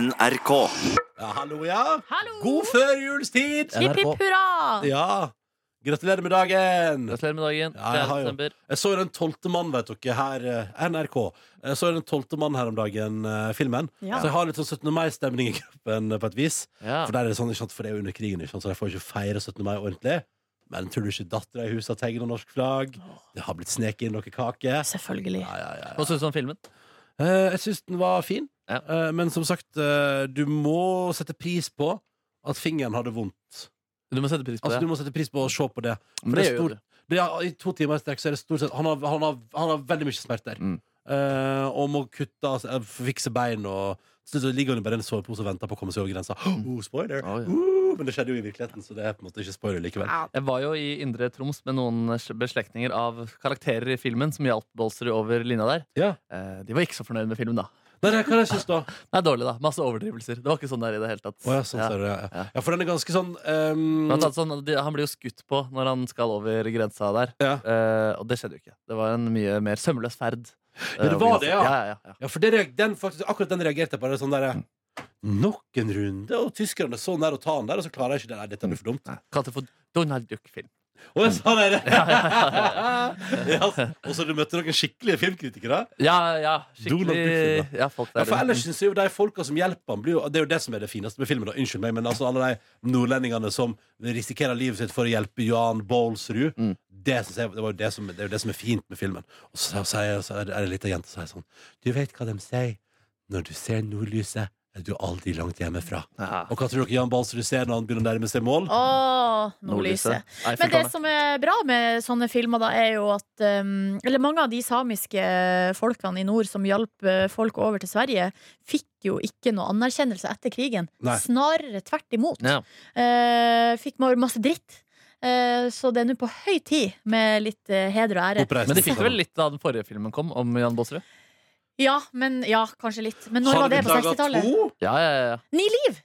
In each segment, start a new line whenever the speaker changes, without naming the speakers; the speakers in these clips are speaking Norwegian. NRK.
Ja, hallo, ja.
Hallo!
God førjulstid!
Hipp, hipp hurra!
Ja. Gratulerer med dagen!
Gratulerer med dagen.
Ja, jeg har jo-
3. desember.
Jeg så jo Den tolvte mann, vet dere, her eh, NRK. Jeg så jo Den tolvte mann her om dagen, eh, filmen.
Ja.
Så jeg har litt sånn 17. mai-stemning i kroppen, eh, på et vis.
Ja.
For der er det sånn, ikke sant, for det er jo under krigen, ikke sant, så de får ikke feire 17. mai ordentlig. Men tror du ikke dattera i huset har tegna norsk flagg? Det har blitt sneket inn noe kake. Ja,
Selvfølgelig.
ja, ja, ja.
Hva syns du om filmen?
Eh, Jeg syns den var fin,
Ja.
Eh, men som sagt, eh, du må sette pris på at fingeren hadde vondt.
Du må sette pris på
Altså, du
det.
må sette pris på å se på det.
Men
For det
det
er
gjør
stor,
du.
det er, I to timer i strekk så er det stort sett Han har, han har, han har veldig mye smerter.
Mm.
Eh, og må kutte altså, eh, fikse bein og til slutt så ligger hun bare i en sovepose og venter på å komme seg over grensa. Oh, spoiler!
Å, ja.
Uh, men det skjedde jo i virkeligheten, så det er på en måte ikke spoiler likevel.
Ja.
Jeg var jo i Indre Troms med noen beslektninger av karakterer i filmen som hjalp Bolsrud over linja der.
Ja.
Eh, De var ikke så fornøyd med filmen, da.
Nei, nei, hva er det jeg syns da?
Nei, dårlig, da. Masse overdrivelser. Det var ikke sånn der i det hele tatt.
Å, ja, sånn,
Ja.
ser du, ja. Ja.
Ja.
ja, for den er ganske sånn ehm,
Blant annet sånn, de- han blir jo skutt på når han skal over grensa der.
ja.
Eh, og det skjedde jo ikke. Det var en mye mer sømløs ferd. Eh,
Ja, det var det, ja.
ja, ja, ja.
ja, for det, reag- den, faktisk, akkurat den reagerte jeg på. Det er sånn der,
Mm.
Nok en runde, og tyskerne er så nær å ta han der, og så klarer jeg ikke det. Nei, dette blir for dumt.
Kalte det for Donald Duck-film.
Å, jeg sa dere! Ja, og så du møtte noen skikkelige filmkritikere.
Ja, ja.
Donald Duck-film,
Skikkelig ja, folk der
Ja, for
rundt.
ellers synes jeg jo de folka som hjelper han blir jo, Det er jo det som er det fineste med filmen. Da. Unnskyld meg, men altså alle de nordlendingene som risikerer livet sitt for å hjelpe Jan Baalsrud,
Mm.
det, synes jeg, det, var jo det, som, det er jo det som er fint med filmen. Og så, sier- så er det ei lita jente som sier sånn Du vet hva de sier. Når du ser nordlyset, er du aldri langt hjemmefra.
Ja.
Og hva tror dere Jan Baalsrud ser når han begynner å nærme seg mål?
Åh, nordlyset.
Nei,
Men
fullt
det
av meg.
som er bra med sånne filmer, da, er jo at um, Eller mange av de samiske folkene i nord som hjalp uh, folk over til Sverige, fikk jo ikke noe anerkjennelse etter krigen.
Nei.
Snarere tvert imot.
Ja.
Eh, fikk bare masse dritt. Eh, så det er nå på høy tid med litt eh, heder og ære.
Oppreisning.
Men de fikk vel litt da den forrige filmen kom, om Jan Baalsrud?
Ja, men ja, kanskje litt. Men når
Har
var det?
blitt
På
laget
60-tallet?
to?
Ja, ja, ja.
Ni liv!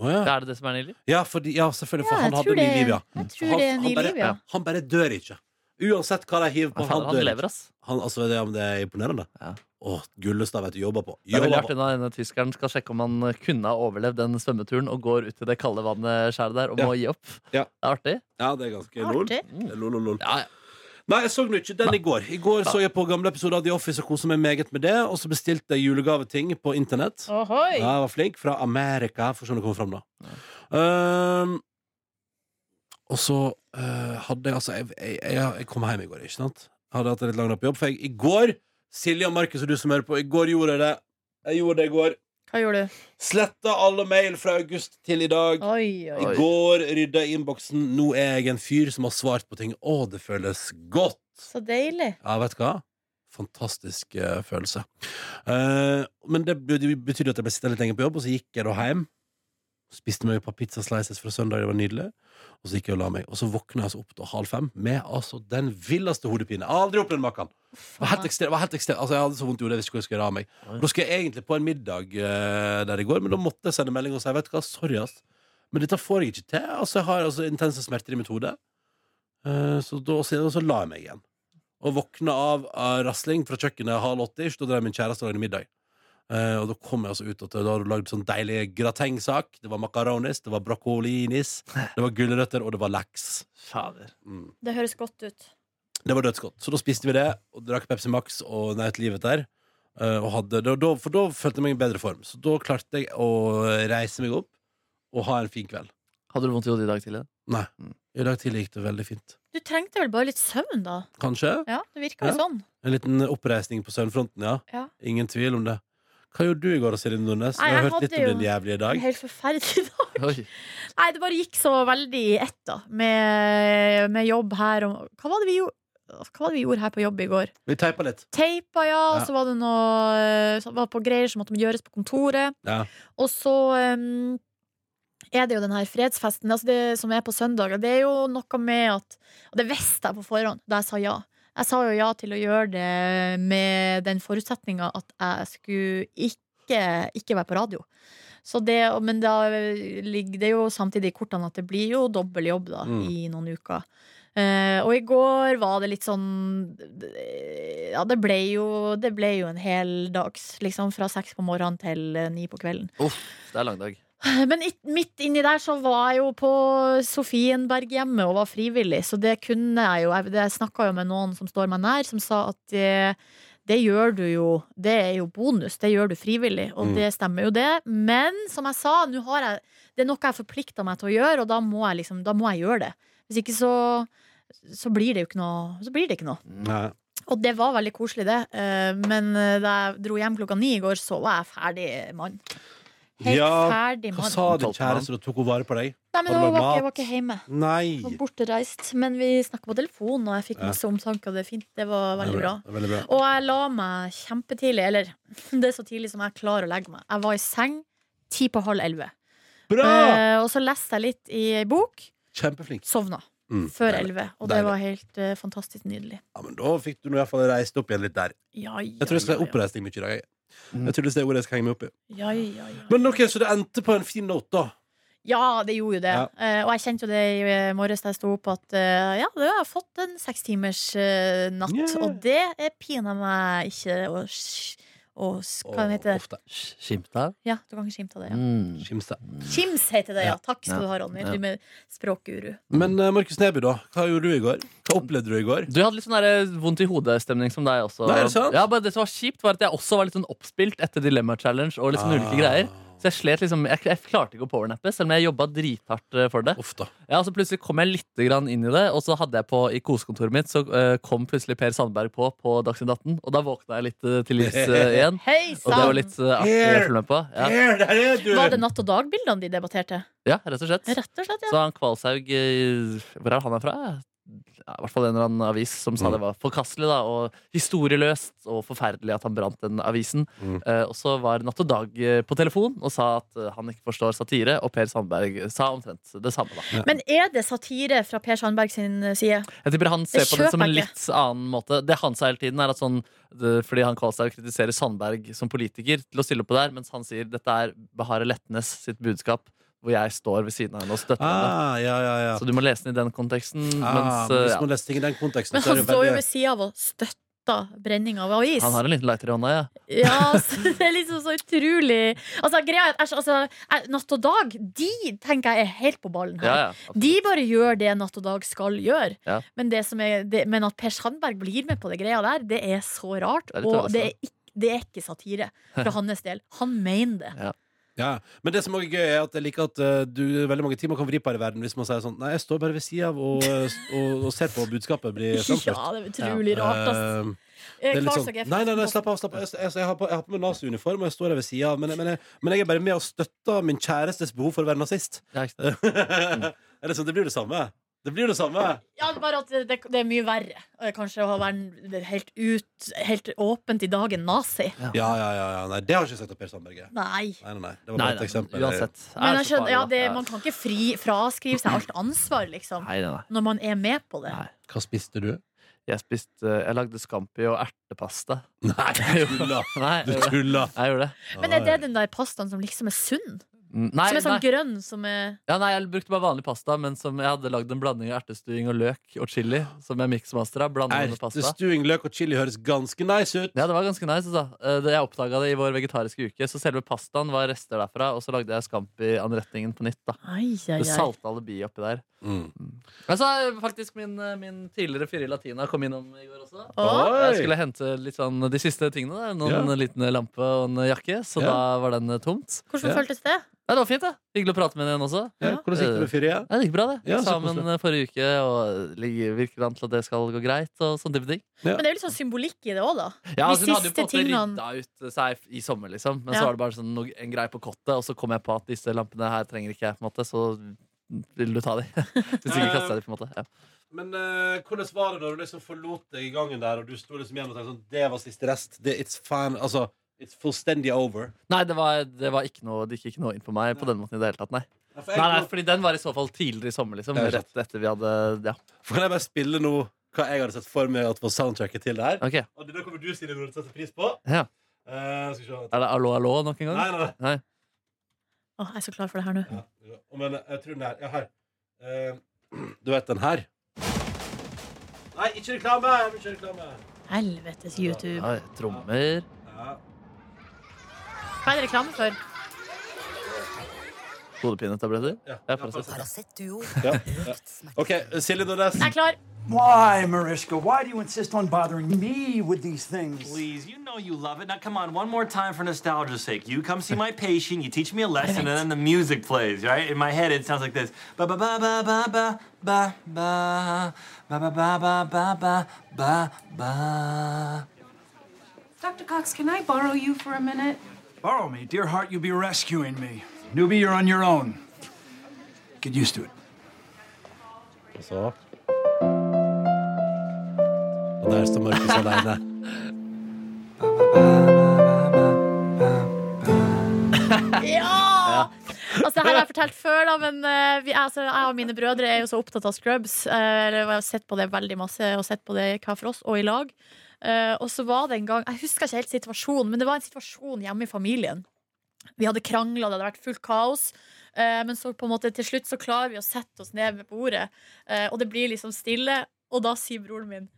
Å, ja.
Det er det det som er Nili?
Ja, fordi, ja, selvfølgelig, for
Ja, jeg
han hadde
tror det-
ny liv, ja. Mm.
Jeg tror det er ni
bare,
liv, ja.
han bare dør ikke. Uansett hva de hiver på,
Ja, faen, han
dør ikke.
lever, ass.
Han, altså, det, ja, men det er imponerende.
Ja.
Åh, Gullestad vet du jobber på.
Det er veldig
Jobber
artig når denne tyskeren skal sjekke om han kunne ha overlevd den svømmeturen og går ut i det kalde vannet skjæret der og
Ja.
må gi opp.
Ja.
Det er artig.
på. Ja, det er ganske lol.
Artig.
Det er lol, lol, lol.
Ja, ja.
Nei, jeg så den ikke den i går. I går så jeg på gamle episoder av The Office og koste meg meget med det. Og så bestilte jeg julegaveting på internett.
Ohoi!
Ja, jeg var flink. Fra Amerika. Får se om det kommer fram, da. Ehm, og så eh, hadde jeg altså jeg, jeg, jeg, jeg kom hjem i går, ikke sant? Hadde hatt en litt lang dag på jobb. For jeg, i går, Silje og Markus og du som hører på, i går gjorde jeg det. Jeg gjorde det i går.
Hva gjorde du?
Sletta alle mail fra august til i dag.
Oi, oi.
I
Oi.
går rydda jeg innboksen. Nå er jeg en fyr som har svart på ting. Å, det føles godt!
Så deilig.
Ja, vet du hva? Fantastisk eh, følelse. Eh, men det, be- det betydde at jeg ble sittende litt lenger på jobb, og så gikk jeg da hjem. Spiste meg et par pizza slices fra søndag, det var nydelig. Og så gikk jeg og la meg. Og så våkna jeg altså opp til halv fem med altså den villeste hodepine. Jeg har Aldri opplevd maken! Det var helt ekstremt. det var helt ekstremt. Altså, jeg hadde så vondt i hodet, jeg visste ikke hvor jeg skulle gjøre av meg.
Oi.
Da skulle jeg egentlig på en middag eh, der i går, men da måtte jeg sende melding og si vet du hva, sorry, ass. Men dette får jeg ikke til. Altså, jeg har altså, intense smerter i mitt hode. Eh, så da så, så la jeg meg igjen. Og våkna av eh, rassling fra kjøkkenet halv åtte. ish, Da drev min kjæreste og lagde middag. Eh, og da kom jeg altså ut at da hadde hun lagd sånn deilig gratengsak. Det var macaronis, det var broccolinis, det var gulrøtter, og det var laks.
Fader.
Mm.
Det høres godt ut.
Det var dødsgodt. Så da spiste vi det, og drakk Pepsi Max og Nei til livet der. eh, Og hadde, da, da, for da følte jeg meg i bedre form. Så da klarte jeg å reise meg opp og ha en fin kveld.
Hadde du vondt i hodet i dag tidlig?
Nei.
Mm.
I dag tidlig gikk det veldig fint.
Du trengte vel bare litt søvn, da?
Kanskje?
Ja, det virker jo
Ja.
sånn.
En liten oppreisning på søvnfronten, ja.
Ja.
Ingen tvil om det. Hva gjorde du i går, Silje Nordnes?
Nei,
jeg har
jeg
hørt litt
hadde
om
jo-
din jævlige
En
dag.
helt forferdelig dag.
Oi.
Nei, det bare gikk så veldig i ett, da. Med, med jobb her og Hva var det vi gjorde? Hva var det vi gjorde her på jobb i går?
Vi teipa litt.
Teipa, ja.
Ja.
Og så var det noe så var det på greier som måtte gjøres på kontoret.
Ja.
Og så um, er det jo den her fredsfesten altså det, som er på søndag. Og det er jo noe med at Og det visste jeg på forhånd da jeg sa ja. Jeg sa jo ja til å gjøre det med den forutsetninga at jeg skulle ikke, ikke være på radio. Så det, men da ligger det jo samtidig i kortene at det blir jo dobbel jobb da,
Mm.
i noen uker. Eh, og i går var det litt sånn Ja, det ble jo, det ble jo en hel dags, liksom. Fra seks på morgenen til eh, ni på kvelden.
Det er langdag.
Eh, Men i- midt inni der så var jeg jo på Sofienberghjemmet og var frivillig, så det kunne jeg jo. Jeg, jeg snakka jo med noen som står meg nær, som sa at det, det gjør du jo Det er jo bonus, det gjør du frivillig, og
Mm.
det stemmer jo det. Men som jeg sa, nå har jeg, det er noe jeg forplikta meg til å gjøre, og da må jeg liksom, da må jeg gjøre det. Hvis ikke så så blir det jo ikke noe. Så blir det ikke noe.
Nei.
Og det var veldig koselig, det. Eh, Men eh, da jeg dro hjem klokka ni i går, så var jeg ferdig mann. Helt
Ja,
ferdig
hva
mann.
sa din
Talte med han.
kjæreste da? Tok hun vare på deg?
Nei, men
Har du
jeg
lagd
var, ikke, jeg var
mat?
ikke hjemme. Jeg var
Nei.
bortreist. Men vi snakka på telefon, og jeg fikk
Ja.
masse omtanke, og det er fint. Det var veldig bra.
Det er Veldig bra.
Og jeg la meg kjempetidlig. Eller det er så tidlig som jeg klarer å legge meg. Jeg var i seng ti på halv elleve.
Bra!
Eh, og så leste jeg litt i ei bok.
Kjempeflink.
Sovna
Mm,
før
deilig.
elleve. Og det
Deilig.
var helt eh, fantastisk nydelig.
Ja, men da fikk du nå i hvert fall reist opp igjen litt der.
Ja, ja,
Jeg tror jeg skal
ja, ja.
oppreise deg mye i dag. jeg.
Mm.
Jeg tror det er ordet jeg skal henge meg opp i.
Ja, ja, ja.
Men ok, Så det endte på en fin note, da.
Ja, det gjorde jo det.
Ja.
Eh, og jeg kjente jo det i eh, morges da jeg sto opp, at eh, ja, det har jeg fått en seks timers eh, natt.
Yeah.
Og det er pinadø meg ikke å sk- å sk- Hva
Og
heter det?
ofte.
Sk- Skimta?
Ja, du kan ikke skimte av det. Ja.
Mm.
Skimse.
Skims heter det, ja.
Ja.
Takk skal
Ja.
du ha, Ronny.
Ja.
Du med språkguru.
Men eh, Markus Neby, da. Hva gjorde du i går? Hva opplevde du i går?
Du hadde litt sånn der vondt i hodet-stemning som deg også.
Nei, er det sant?
Ja, bare det som var kjipt, var at jeg også var litt sånn oppspilt etter Dilemma Challenge og litt sånn ulike
Ah.
greier. Så jeg slet liksom, jeg, jeg klarte ikke å powernappe, selv om jeg jobba drithardt eh, for det.
Ofte.
Ja, og så Plutselig kom jeg litt grann inn i det, og så hadde jeg på i kosekontoret mitt Så eh, kom plutselig Per Sandberg på på Dagsnytt 18, og da våkna jeg litt eh, til livs eh, igjen.
Hei
Og det
sann!
var litt eh, artig å
Per!
følge med på. Ja,
Her, der er du!
Var det natt og dag-bildene de debatterte?
ja rett og slett.
Rett og slett, ja.
Så han Kvalshaug eh, Hvor er han er fra? Ja, I hvert fall en eller annen avis som sa
Mm.
det var forkastelig da, og historieløst og forferdelig at han brant den avisen.
Mm.
Eh, og så var Natt og Dag eh, på telefon og sa at eh, han ikke forstår satire, og Per Sandberg sa omtrent det samme. da.
Men er det satire fra Per Sandberg sin eh, side?
Jeg tipper han ser
Det
på det
kjøper
som en
jeg
litt annen måte. Det han sa hele tiden, er at sånn det, Fordi han Kvalshaug kritiserer Sandberg som politiker til å stille opp på der, mens han sier dette er Bahareh Letnes sitt budskap, hvor jeg står ved siden av henne og støtter henne.
Ah, ja, ja, ja.
Så du må lese den i den konteksten.
Ah,
mens,
men
eh,
hvis
ja.
man leser ting i den konteksten,
Men
så er
han
det
står jo
veldig
ved sida av og støtta brenning av is.
Han har en liten lighter i hånda, ja.
Ja, altså, det er liksom så utrolig Altså, greia er at jeg- altså, jeg- Natt og dag, de tenker jeg er helt på ballen her.
ja, ja.
De bare gjør det Natt og dag skal gjøre.
Ja.
Men, det som er, det, men at Per Sandberg blir med på det greia der, det er så rart.
Det er litt
og
overraskende.
det er, ikke, det er ikke satire fra hans del. Han mener det.
Ja, Men det som også er gøy, er at jeg liker at eh, du veldig mange timer kan vri på her i verden hvis man sier sånn Nei, jeg står bare ved sida av og, eh, s- og, og ser på budskapet bli framført.
Ja, det er utrolig rart, ass.
Eh, det
Eh,
er litt
Kvalsøk
sånn,
er fra
nei, nei, nei,
Aftenposten.
slapp av. Slapp av. Jeg, jeg, jeg, har på, jeg har på meg nazi-uniform, og jeg står her ved sida av, men, men, jeg, men jeg er bare med og støtter min kjærestes behov for å være nazist.
Ja, ikke sant.
Eller sånn, Det blir jo det samme. Det blir jo det samme.
Ja, det er bare at det, det, det er mye verre eh, kanskje å være helt, ut, helt åpent i dag en nazi.
Ja, ja, ja. ja. Nei, det har ikke jeg sagt av Per Sandberg. jeg.
Nei.
Nei, nei, nei. Det var
Nei,
bare et
nei,
eksempel.
uansett. Er
Men
det
jeg
så
skjønner, ja,
farlig,
det,
da?
man kan ikke fri, fraskrive seg alt ansvar, liksom.
Nei, nei, nei.
Når man er med på det.
Nei.
Hva spiste du?
Jeg spiste eh, Jeg lagde scampi og ertepasta.
Nei, du tuller!
Nei,
Du
jeg gjorde det.
tuller!
Jeg gjorde det.
Men er det den der pastaen som liksom er sunn?
Mm, Nei,
som er sånn
nei.
grønn, som er
Ja, nei, jeg brukte bare vanlig pasta, men som jeg hadde lagd en blanding av ertestuing og løk og chili. Som jeg miksmastra. Blanda med pasta.
Ertestuing, løk og chili høres ganske nice ut.
Ja, det var ganske nice. altså. Eh, det- Jeg oppdaga det i vår vegetariske uke. Så selve pastaen var rester derfra, og så lagde jeg scampi-anretningen på nytt. da
Ai, ai,
Det
ai.
salte alibi oppi der.
Mm.
Men så er faktisk min, eh, min tidligere Fyri Latina kom innom i går også.
Å,
Oi.
Jeg skulle hente litt sånn de siste tingene. Da. Noen
Ja.
liten lampe og en jakke. Så
Ja.
da var den eh, tomt.
hvordan
Ja.
føltes det?
Nei, det var fint, da. Hyggelig å prate med henne igjen også.
Ja, hvordan gikk det med fyret?
Nei, det gikk bra, det.
Ja, så
Sammen eh, forrige uke, og ligger- virker an til at det skal gå greit. Og sånn type ting.
Men det er jo litt sånn symbolikk i det òg, da.
Ja,
De
altså, hun hadde jo
siste
på en måte
tingene-
rydda ut eh, seg i sommer, liksom. Men
Ja.
så var det bare sånn, noe- en greie på kottet, og så kom jeg på at disse lampene her trenger ikke jeg, på en måte. Så vil du ta de? Hvis ikke kaster jeg de, på en måte. Ja.
Men eh, hvordan var det da du liksom forlot deg i gangen der, og du sto liksom igjen og tenkte sånn Det var siste rest. Det, it's fan, altså, it's fullstendig over.
Nei, det, var, det, var ikke noe, det gikk ikke noe inn på meg på den måten i det hele tatt, nei.
Ja, for jeg-
Nei, nei, fordi den var i så fall tidligere i sommer, liksom.
Det er sant.
Rett etter vi hadde Ja.
For kan jeg bare spille nå hva jeg hadde sett for meg at var soundtracket til det her?
Ok.
Og det da kommer du, Silje, til å sette pris på.
Ja.
Eh, skal vi se
Er det allo, allo nok en gang?
Nei, nei, nei.
Nei.
Å, jeg er så klar for det her nå.
Eh, Ja, men jeg tror den her. Ja, her. Eh, du vet den her? Nei, ikke reklame! Jeg vil ikke reklame.
Helvetes YouTube.
Ja, trommer.
Ja.
Hva er det reklame for?
Hodepinetabletter.
Ja.
Ja, Paracet.
Paracet Duo.
Ja.
Økt smerte.
OK, Silje Nordnes.
Jeg er klar.
Why, Mariska? Why do you insist on bothering me with these things?
Please, you know you love it. Now, come on, one more time for nostalgia's sake. You come see my patient, you teach me a lesson, and then the music plays, right? In my head, it sounds like this: ba ba ba ba ba ba ba ba ba ba ba ba ba ba ba ba.
Dr. Cox, can I borrow you for a minute?
Borrow me, dear heart, you'll be rescuing me. Newbie, you're on your own. Get used to it.
Og så Og der står Markus alene
Ja! Altså, det her har jeg fortalt før, da, men eh, vi, altså, jeg og mine brødre er jo så opptatt av Scrubs. eh, eller vi har sett på det veldig masse, og sett på det hver for oss, og i lag. Eh, og så var det en gang Jeg husker ikke helt situasjonen, men det var en situasjon hjemme i familien. Vi hadde krangla, det hadde vært fullt kaos. eh, men så på en måte til slutt så klarer vi å sette oss ned ved bordet, eh, og det blir liksom stille. Og da sier broren min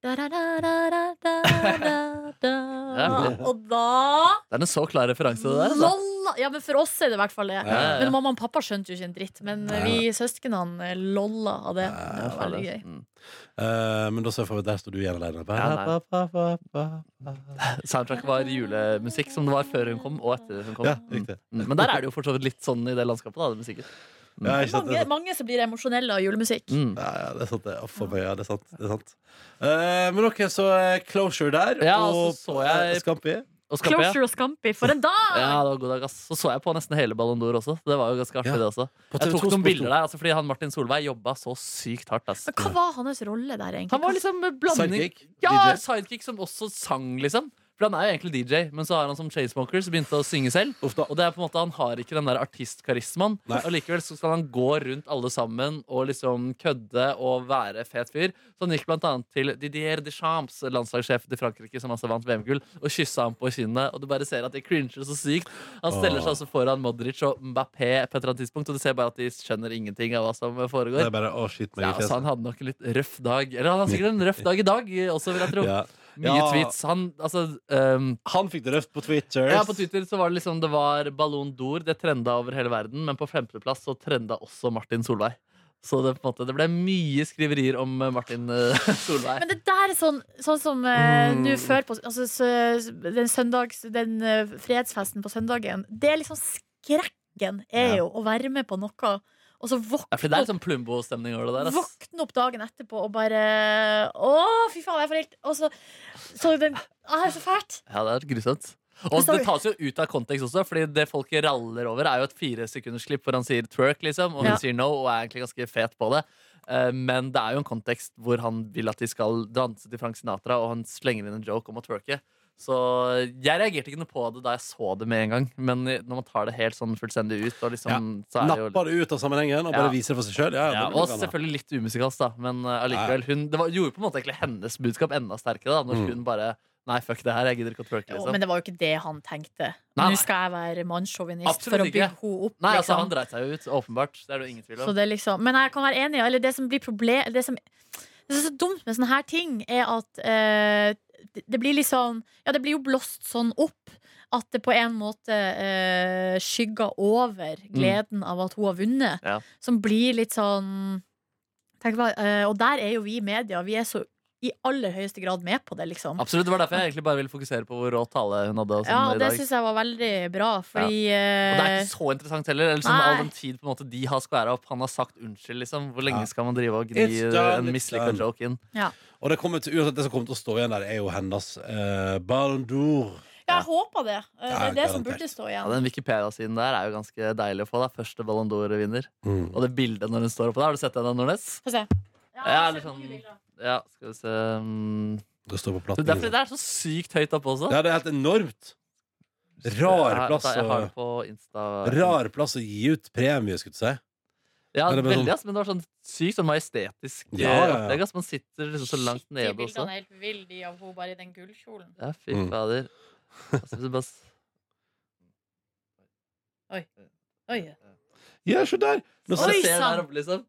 da, da, da, da, da, da, da. Og da
Det er en så klar referanse, det der. Altså.
Lolla! Ja, men for oss er det i hvert fall det.
ja, ja.
Men mamma og pappa skjønte jo ikke en dritt. Men eh, vi søsknene eh, lolla av det. Det var veldig gøy.
Mm.
Eh, Men da ser jeg for meg at der står du igjen alene ba,
Ja, nei.
ba, ba, ba, ba, ba.
Soundtrack var julemusikk, som det var før hun kom, og etter hun kom.
Ja, riktig
Mm. Men der er det jo fortsatt litt sånn i det landskapet, da. Det musikken.
ja, ikke sant, det,
Mange,
er sant.
mange som blir emosjonelle av julemusikk.
Mm.
Ja, ja, det er sant det Å, for meg, ja, det er sant, det er sant. Eh, Men ok, så eh, Closure der
Ja, og så så jeg-
eh, Scampi
Og Skampe, ja.
Closure og Scampi, for en dag!
Ja, det var god dag, ass. Så så jeg på nesten hele Ballon d'Or også. Det var jo ganske artig,
Ja.
det også.
På
Jeg
TV2
tok noen
Sport
bilder der, altså, fordi han Martin Solveig jobba så sykt hardt, ass.
Men hva var hans rolle der, egentlig?
Han var liksom eh, blanding
Sidekick,
Ja,
DJ.
sidekick som også sang, liksom. For han er jo egentlig DJ, men så har han som Chainsmokers begynte å synge selv.
Uff da.
Og det er på en måte, han har ikke den der artistkarismaen.
Nei.
Og likevel så skal han gå rundt alle sammen og liksom kødde og være fet fyr. Så han gikk blant annet til Didier Deschamps, landslagssjef til Frankrike, som altså vant VM-gull, og kyssa ham på kinnet. Og du bare ser at de cringer så sykt. Han steller seg altså foran Modric og Mbappé på et eller annet tidspunkt, og du ser bare at de skjønner ingenting av hva som
Det
foregår.
er bare, å shit meg
Ja,
i
altså,
fjeset
han hadde nok en litt røff dag. Eller han har sikkert en røff dag i dag eh, også, vil jeg tro.
ja.
Mye
Ja.
tweets. Han, altså ehm,
Han fikk det røft på Twitter
ja, På Twitter så var det liksom Det var Ballon d'Or. Det trenda over hele verden, men på femteplass så trenda også Martin Solveig. Så det, på en måte, det ble mye skriverier om eh, Martin eh, Solveig.
Men det der er sånn, sånn som eh,
Mm.
nå før på altså, s- den, søndags, den eh, fredsfesten på søndagen. Det er liksom skrekken er jo å være med på noe, og så
Ja, for
våkne
det er
opp
litt sånn Plumbo-stemning over det der. Ass.
Våkne opp dagen etterpå og bare Å, fy faen, jeg er foreldt! Og så Så den ah, det er så fælt!
Ja, det er grusomt. Og
så-
det tas jo ut av kontekst også, Fordi det folk raller over, er jo et firesekundersklipp hvor han sier twerk, liksom, og hun
Ja.
sier no, og er egentlig ganske fet på det. Eh, Men det er jo en kontekst hvor han vil at de skal danse til Frank Sinatra, og han slenger inn en joke om å twerke. Så jeg reagerte ikke noe på det da jeg så det med en gang, men når man tar det helt sånn fullstendig ut, og liksom, så er det jo
Nappa det ut av sammenhengen Og
Ja.
bare viser det for seg selv ja,
ja,
det blir bra,
og
da.
selvfølgelig litt umusikalsk, da. Men eh, allikevel, hun det var, gjorde på en måte egentlig hennes budskap enda sterkere. da Når hun bare Nei, fuck det her, jeg gidder ikke å twerke.
Jo,
Liksom.
Mm. men det var jo ikke det han tenkte.
Nei, nei.
Nå skal jeg være mannssjåvinist
Absolutt
for å
ikke.
bygge henne opp.
Nei, altså
liksom.
han dreit seg jo ut, åpenbart. Det er det jo ingen tvil
Så
om.
det er liksom, men jeg kan være enig. Eller det som blir problem Det som det som er så dumt med sånne her ting, er at eh, det- det blir liksom Ja, det blir jo blåst sånn opp at det på en måte eh, skygger over gleden av at hun har vunnet.
Mm. Ja.
Som blir litt sånn tenk hva, eh, Og der er jo vi i media. Vi er så i aller høyeste grad med på det, liksom.
Absolutt, Det var derfor jeg egentlig bare ville fokusere på hvor rå tale hun hadde. Og, sånn
Ja,
i
det
dag.
syns jeg var veldig bra, fordi
og det er
eh,
ikke så interessant heller. Eller sånn
Nei.
all den tid på en måte de har skværa opp. Han har sagt unnskyld, liksom. Hvor lenge
Ja.
skal man drive og gni
It's done,
en
it's
mislykka
done.
joke inn?
Og det, kommer til, uansett, det som kommer til å stå igjen der Er jo hennes eh, Ballon d'Or
Ja, jeg håper det. Eh, Det
Ja,
er det som
garantert.
burde stå
Ja,
igjen.
Den Wikipedia-siden der er jo ganske deilig å få. da Første Ballon d'Or-vinner.
Mm.
Og det bildet når hun står oppå der, har du sett det, da, Nordnes?
Få se.
Ja, eller sånn Ja, skal vi se mm.
Det står på
Det er fordi
platten
det er så sykt høyt oppe også.
Ja, det er helt enormt
Jeg
Rar
har-
plass
Jeg
å,
har det på Insta.
rar plass å gi ut premie, skulle du si
Ja,
Men det ble
veldig,
sånn-
ass, men det var sånn sykt sånn majestetisk
Ja,
eh,
ja, ja.
opplegg. Ass. Man sitter liksom så langt nede også.
er helt ville, de av henne bare i den gullkjolen.
Ja, fy
Mm.
fader. Altså, hvis du bare s-
Oi.
Ja, se der! Nå
bare
Oi,
ser
sann.
der oppe, liksom.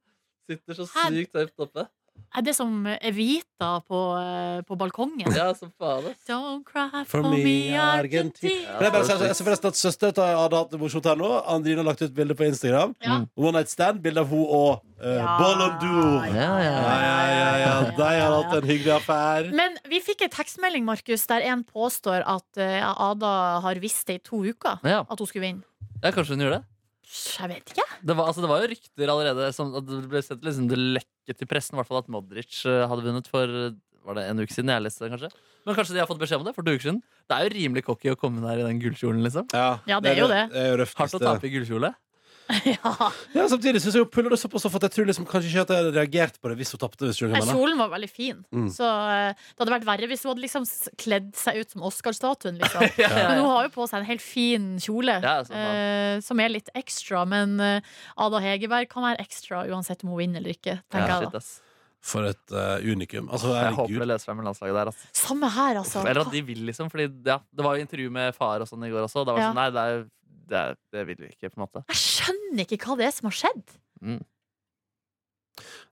Sitter så
Her.
sykt høyt oppe.
Er det som Evita på, eh, på balkongen?
Ja, som faen, ass.
Don't cry
For me, Argentina. Kan jeg bare si at- altså, forresten at Søsteren til Ada hadde hatt det morsomt her nå. Andrine har lagt ut bilde på Instagram.
Ja.
One Night Stand, bilde av hun og uh, Bollandour. Ja,
Ja, ja,
ja, ja, ja. De har hatt en hyggelig affære.
Men vi fikk en tekstmelding, Markus, der en påstår at eh, Ada har visst det i to uker.
Ja.
At hun skulle vinne.
ja, kanskje hun gjorde det.
Psh, Jeg vet ikke.
Det var, altså, det var jo rykter allerede som, at Det ble sett liksom, det lekket i pressen i hvert fall at Modric eh, hadde vunnet for eh, Var det en uke siden jeg leste det, kanskje? Men kanskje de har fått beskjed om det for to uker siden? Det er jo rimelig cocky å komme der i den gullkjolen, liksom.
Ja,
Ja, det er jo det.
det er jo røft, eh.
Hardt å
det.
tape i gullkjole.
Ja.
Ja, samtidig syns jeg hun puller det såpass off at jeg tror liksom kanskje ikke at jeg hadde reagert på det hvis hun tapte. hvis du skjønner hva
Nei,
jeg mener.
Kjolen var veldig fin,
Mm.
så eh, det hadde vært verre hvis hun hadde liksom s- kledd seg ut som Oscar-statuen. Liksom.
Ja, ja, ja.
Men hun har jo på seg en helt fin kjole,
Ja, som faen.
eh, som er litt ekstra. Men eh, Ada Hegerberg kan være ekstra uansett om hun vinner eller ikke. tenker
Ja,
jeg
shit,
da.
ass.
For et eh, unikum. Altså,
Jeg håper
herregud.
det løser seg med landslaget der. Ass.
Samme her, altså.
Eller at de vil, liksom. Fordi, ja, det var jo intervju med far og sånn i går også. og Da var det
Ja.
sånn, nei, det, er, det, er, det vil vi ikke, på en måte.
Jeg skjønner ikke hva det er som har skjedd.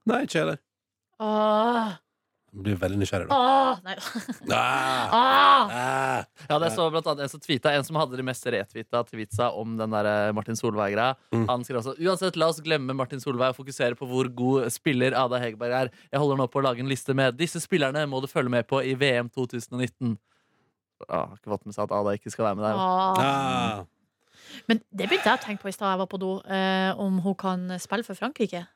Nei, ikke jeg heller.
Åh,
Jeg Blir veldig nysgjerrig, da.
åh, nei da.
Ah.
Åh.
Ah.
Ja, det så blant annet en som tweeta, en som hadde de mest retvita til vitsa om den der eh, Martin Solveig-greia.
Mm.
Han skrev også uansett, la oss glemme Martin Solveig og fokusere på hvor god spiller Ada Hegerberg er. Jeg holder nå på å lage en liste med disse spillerne må du følge med på i VM 2019. Ja, har Ah, ikke fått med seg at Ada ikke skal være med der.
Åh.
Ah.
Men det begynte jeg å tenke på i stad jeg var på do, eh, om hun kan spille for Frankrike.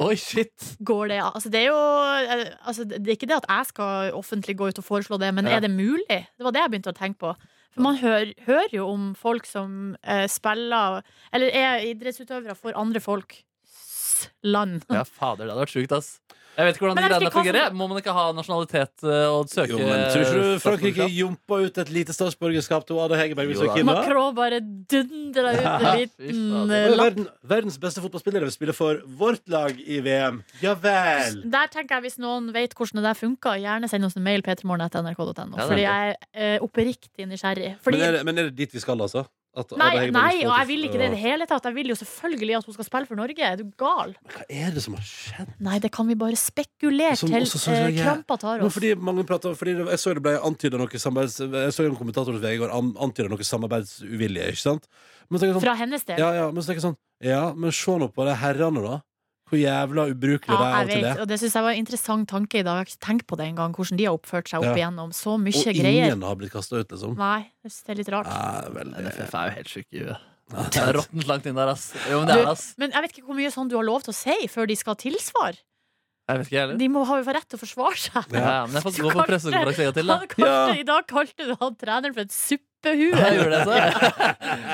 Oi, shit!
Går det, altså det er jo eh, altså Det er ikke det at jeg skal offentlig gå ut og foreslå det, men
Ja.
er det mulig? Det var det jeg begynte å tenke på. For man hører, hører jo om folk som eh, spiller Eller er idrettsutøvere for andre folks land.
Ja, fader, det hadde vært sjukt, ass. Jeg vet ikke hvordan
Men
de
jeg vet
greiene
ikke hva som-
fungerer. jeg. Må man ikke ha nasjonalitet eh, og søke liksom?
Jo, men Tror ikke du Frankrike
statsborgerskap?
jumpa ut et lite statsborgerskap til Ada Hegerberg? Hvis
Jo
hun
da.
er keen, da?
Macron bare dundra ut en liten
fader.
eh,
Hun er
lapp.
Verden, verdens beste fotballspiller vil spille for vårt lag i VM. Ja vel!
Der tenker jeg Hvis noen vet hvordan det der funker, gjerne send oss en mail. p3morgen.nrk.no
Ja, det er
Fordi jeg er eh, oppriktig nysgjerrig. Fordi,
Men er, det, men er det dit vi skal, altså? At Ada
nei,
Hegerberg
nei,
skal
og
til-
jeg vil ikke det i det hele tatt. Jeg vil jo selvfølgelig at hun skal spille for Norge. Er du gal?
Hva er det som har skjedd?
Nei, det kan vi bare spekulere
Som
til
også sånn
eh,
som jeg-
krampa tar
Nå,
oss.
fordi mange prater, fordi det- jeg så det ble antydet noe samarbeids... Jeg så jo en kommentator hos VG i går an- antydet noe samarbeidsuvilje, ikke sant? Men så tenker jeg sånn,
Fra hennes del.
ja, ja, men så tenker jeg sånn Ja, men se nå på de herrene, da. Hvor jævla ubrukelige de er
Ja,
av og til.
jeg
er.
vet, og Det synes jeg var en interessant tanke i dag. Jeg har ikke tenkt på det engang, hvordan de har oppført seg
Ja.
opp igjennom. Så mye
Og
greier.
ingen har blitt kasta ut, liksom.
Nei, jeg synes det er litt rart.
Ja, veldig
NFF er jo helt sjuk i huet. Det er råttent langt inn der, ass. Jo, men det er, ass.
Men jeg vet ikke hvor mye sånn du har lov til å si før de skal ha tilsvar.
Jeg vet ikke, jeg heller.
De må ha jo rett til å forsvare seg.
Ja, ja, men jeg får
Så
gå på
kanskje-
pressekonferanse en gang til, da.
Han kalte, I dag kalte du han treneren for et
Jeg
suppehue.
gjorde det, så.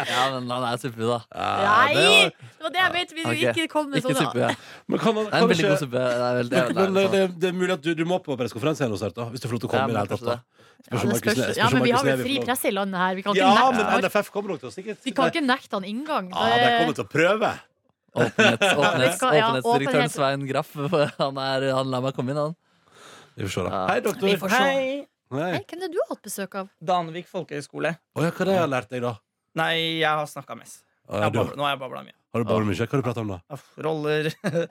Ja, men han er suppe, da.
Ja,
Nei! Sånn,
det var-
Det var det jeg mente. Vi
Ok.
ikke kom med
Ikke
sånne.
suppe, ja.
Men kan man
Det er
kan
en veldig
ikke
god suppe. Det er veldig,
Men det,
det er sånn.
det, det er mulig at du, du må på pressekonferanse igjen hos Ert, da, hvis du får lov til å
Ja,
komme. i det
men
hele tatt,
kanskje
da.
Ja,
Spørs om
det
Markus
spørs,
Ne-
ja,
spørs om
men vi
Markus
har
Neby
vel
får
fri
lov.
presse i landet her. Vi kan ikke
Ja,
nekte
men
han.
NFF kommer nok til å sikkert
Vi kan ikke nekte han inngang.
Ah,
Ja, de kommer til å prøve.
Åpenhets,
vi
åpenhets,
skal- ja,
åpenhetsdirektøren
åpenhet.
Svein Graff, han, er, han lar meg komme inn, han.
Vi får se, da.
Ja.
Hei, doktor.
Vi får se.
Hei!
Hei.
Nei, hvem er det du har hatt besøk av?
Danvik folkehøgskole.
Å, ja, hva er det jeg har lært deg, da?
Nei, jeg har snakka mest.
Å,
Jeg
ja,
har
du,
babla- nå har jeg babla mye.
har du bare mye? Hva har du pratet om, da?
Uff, Roller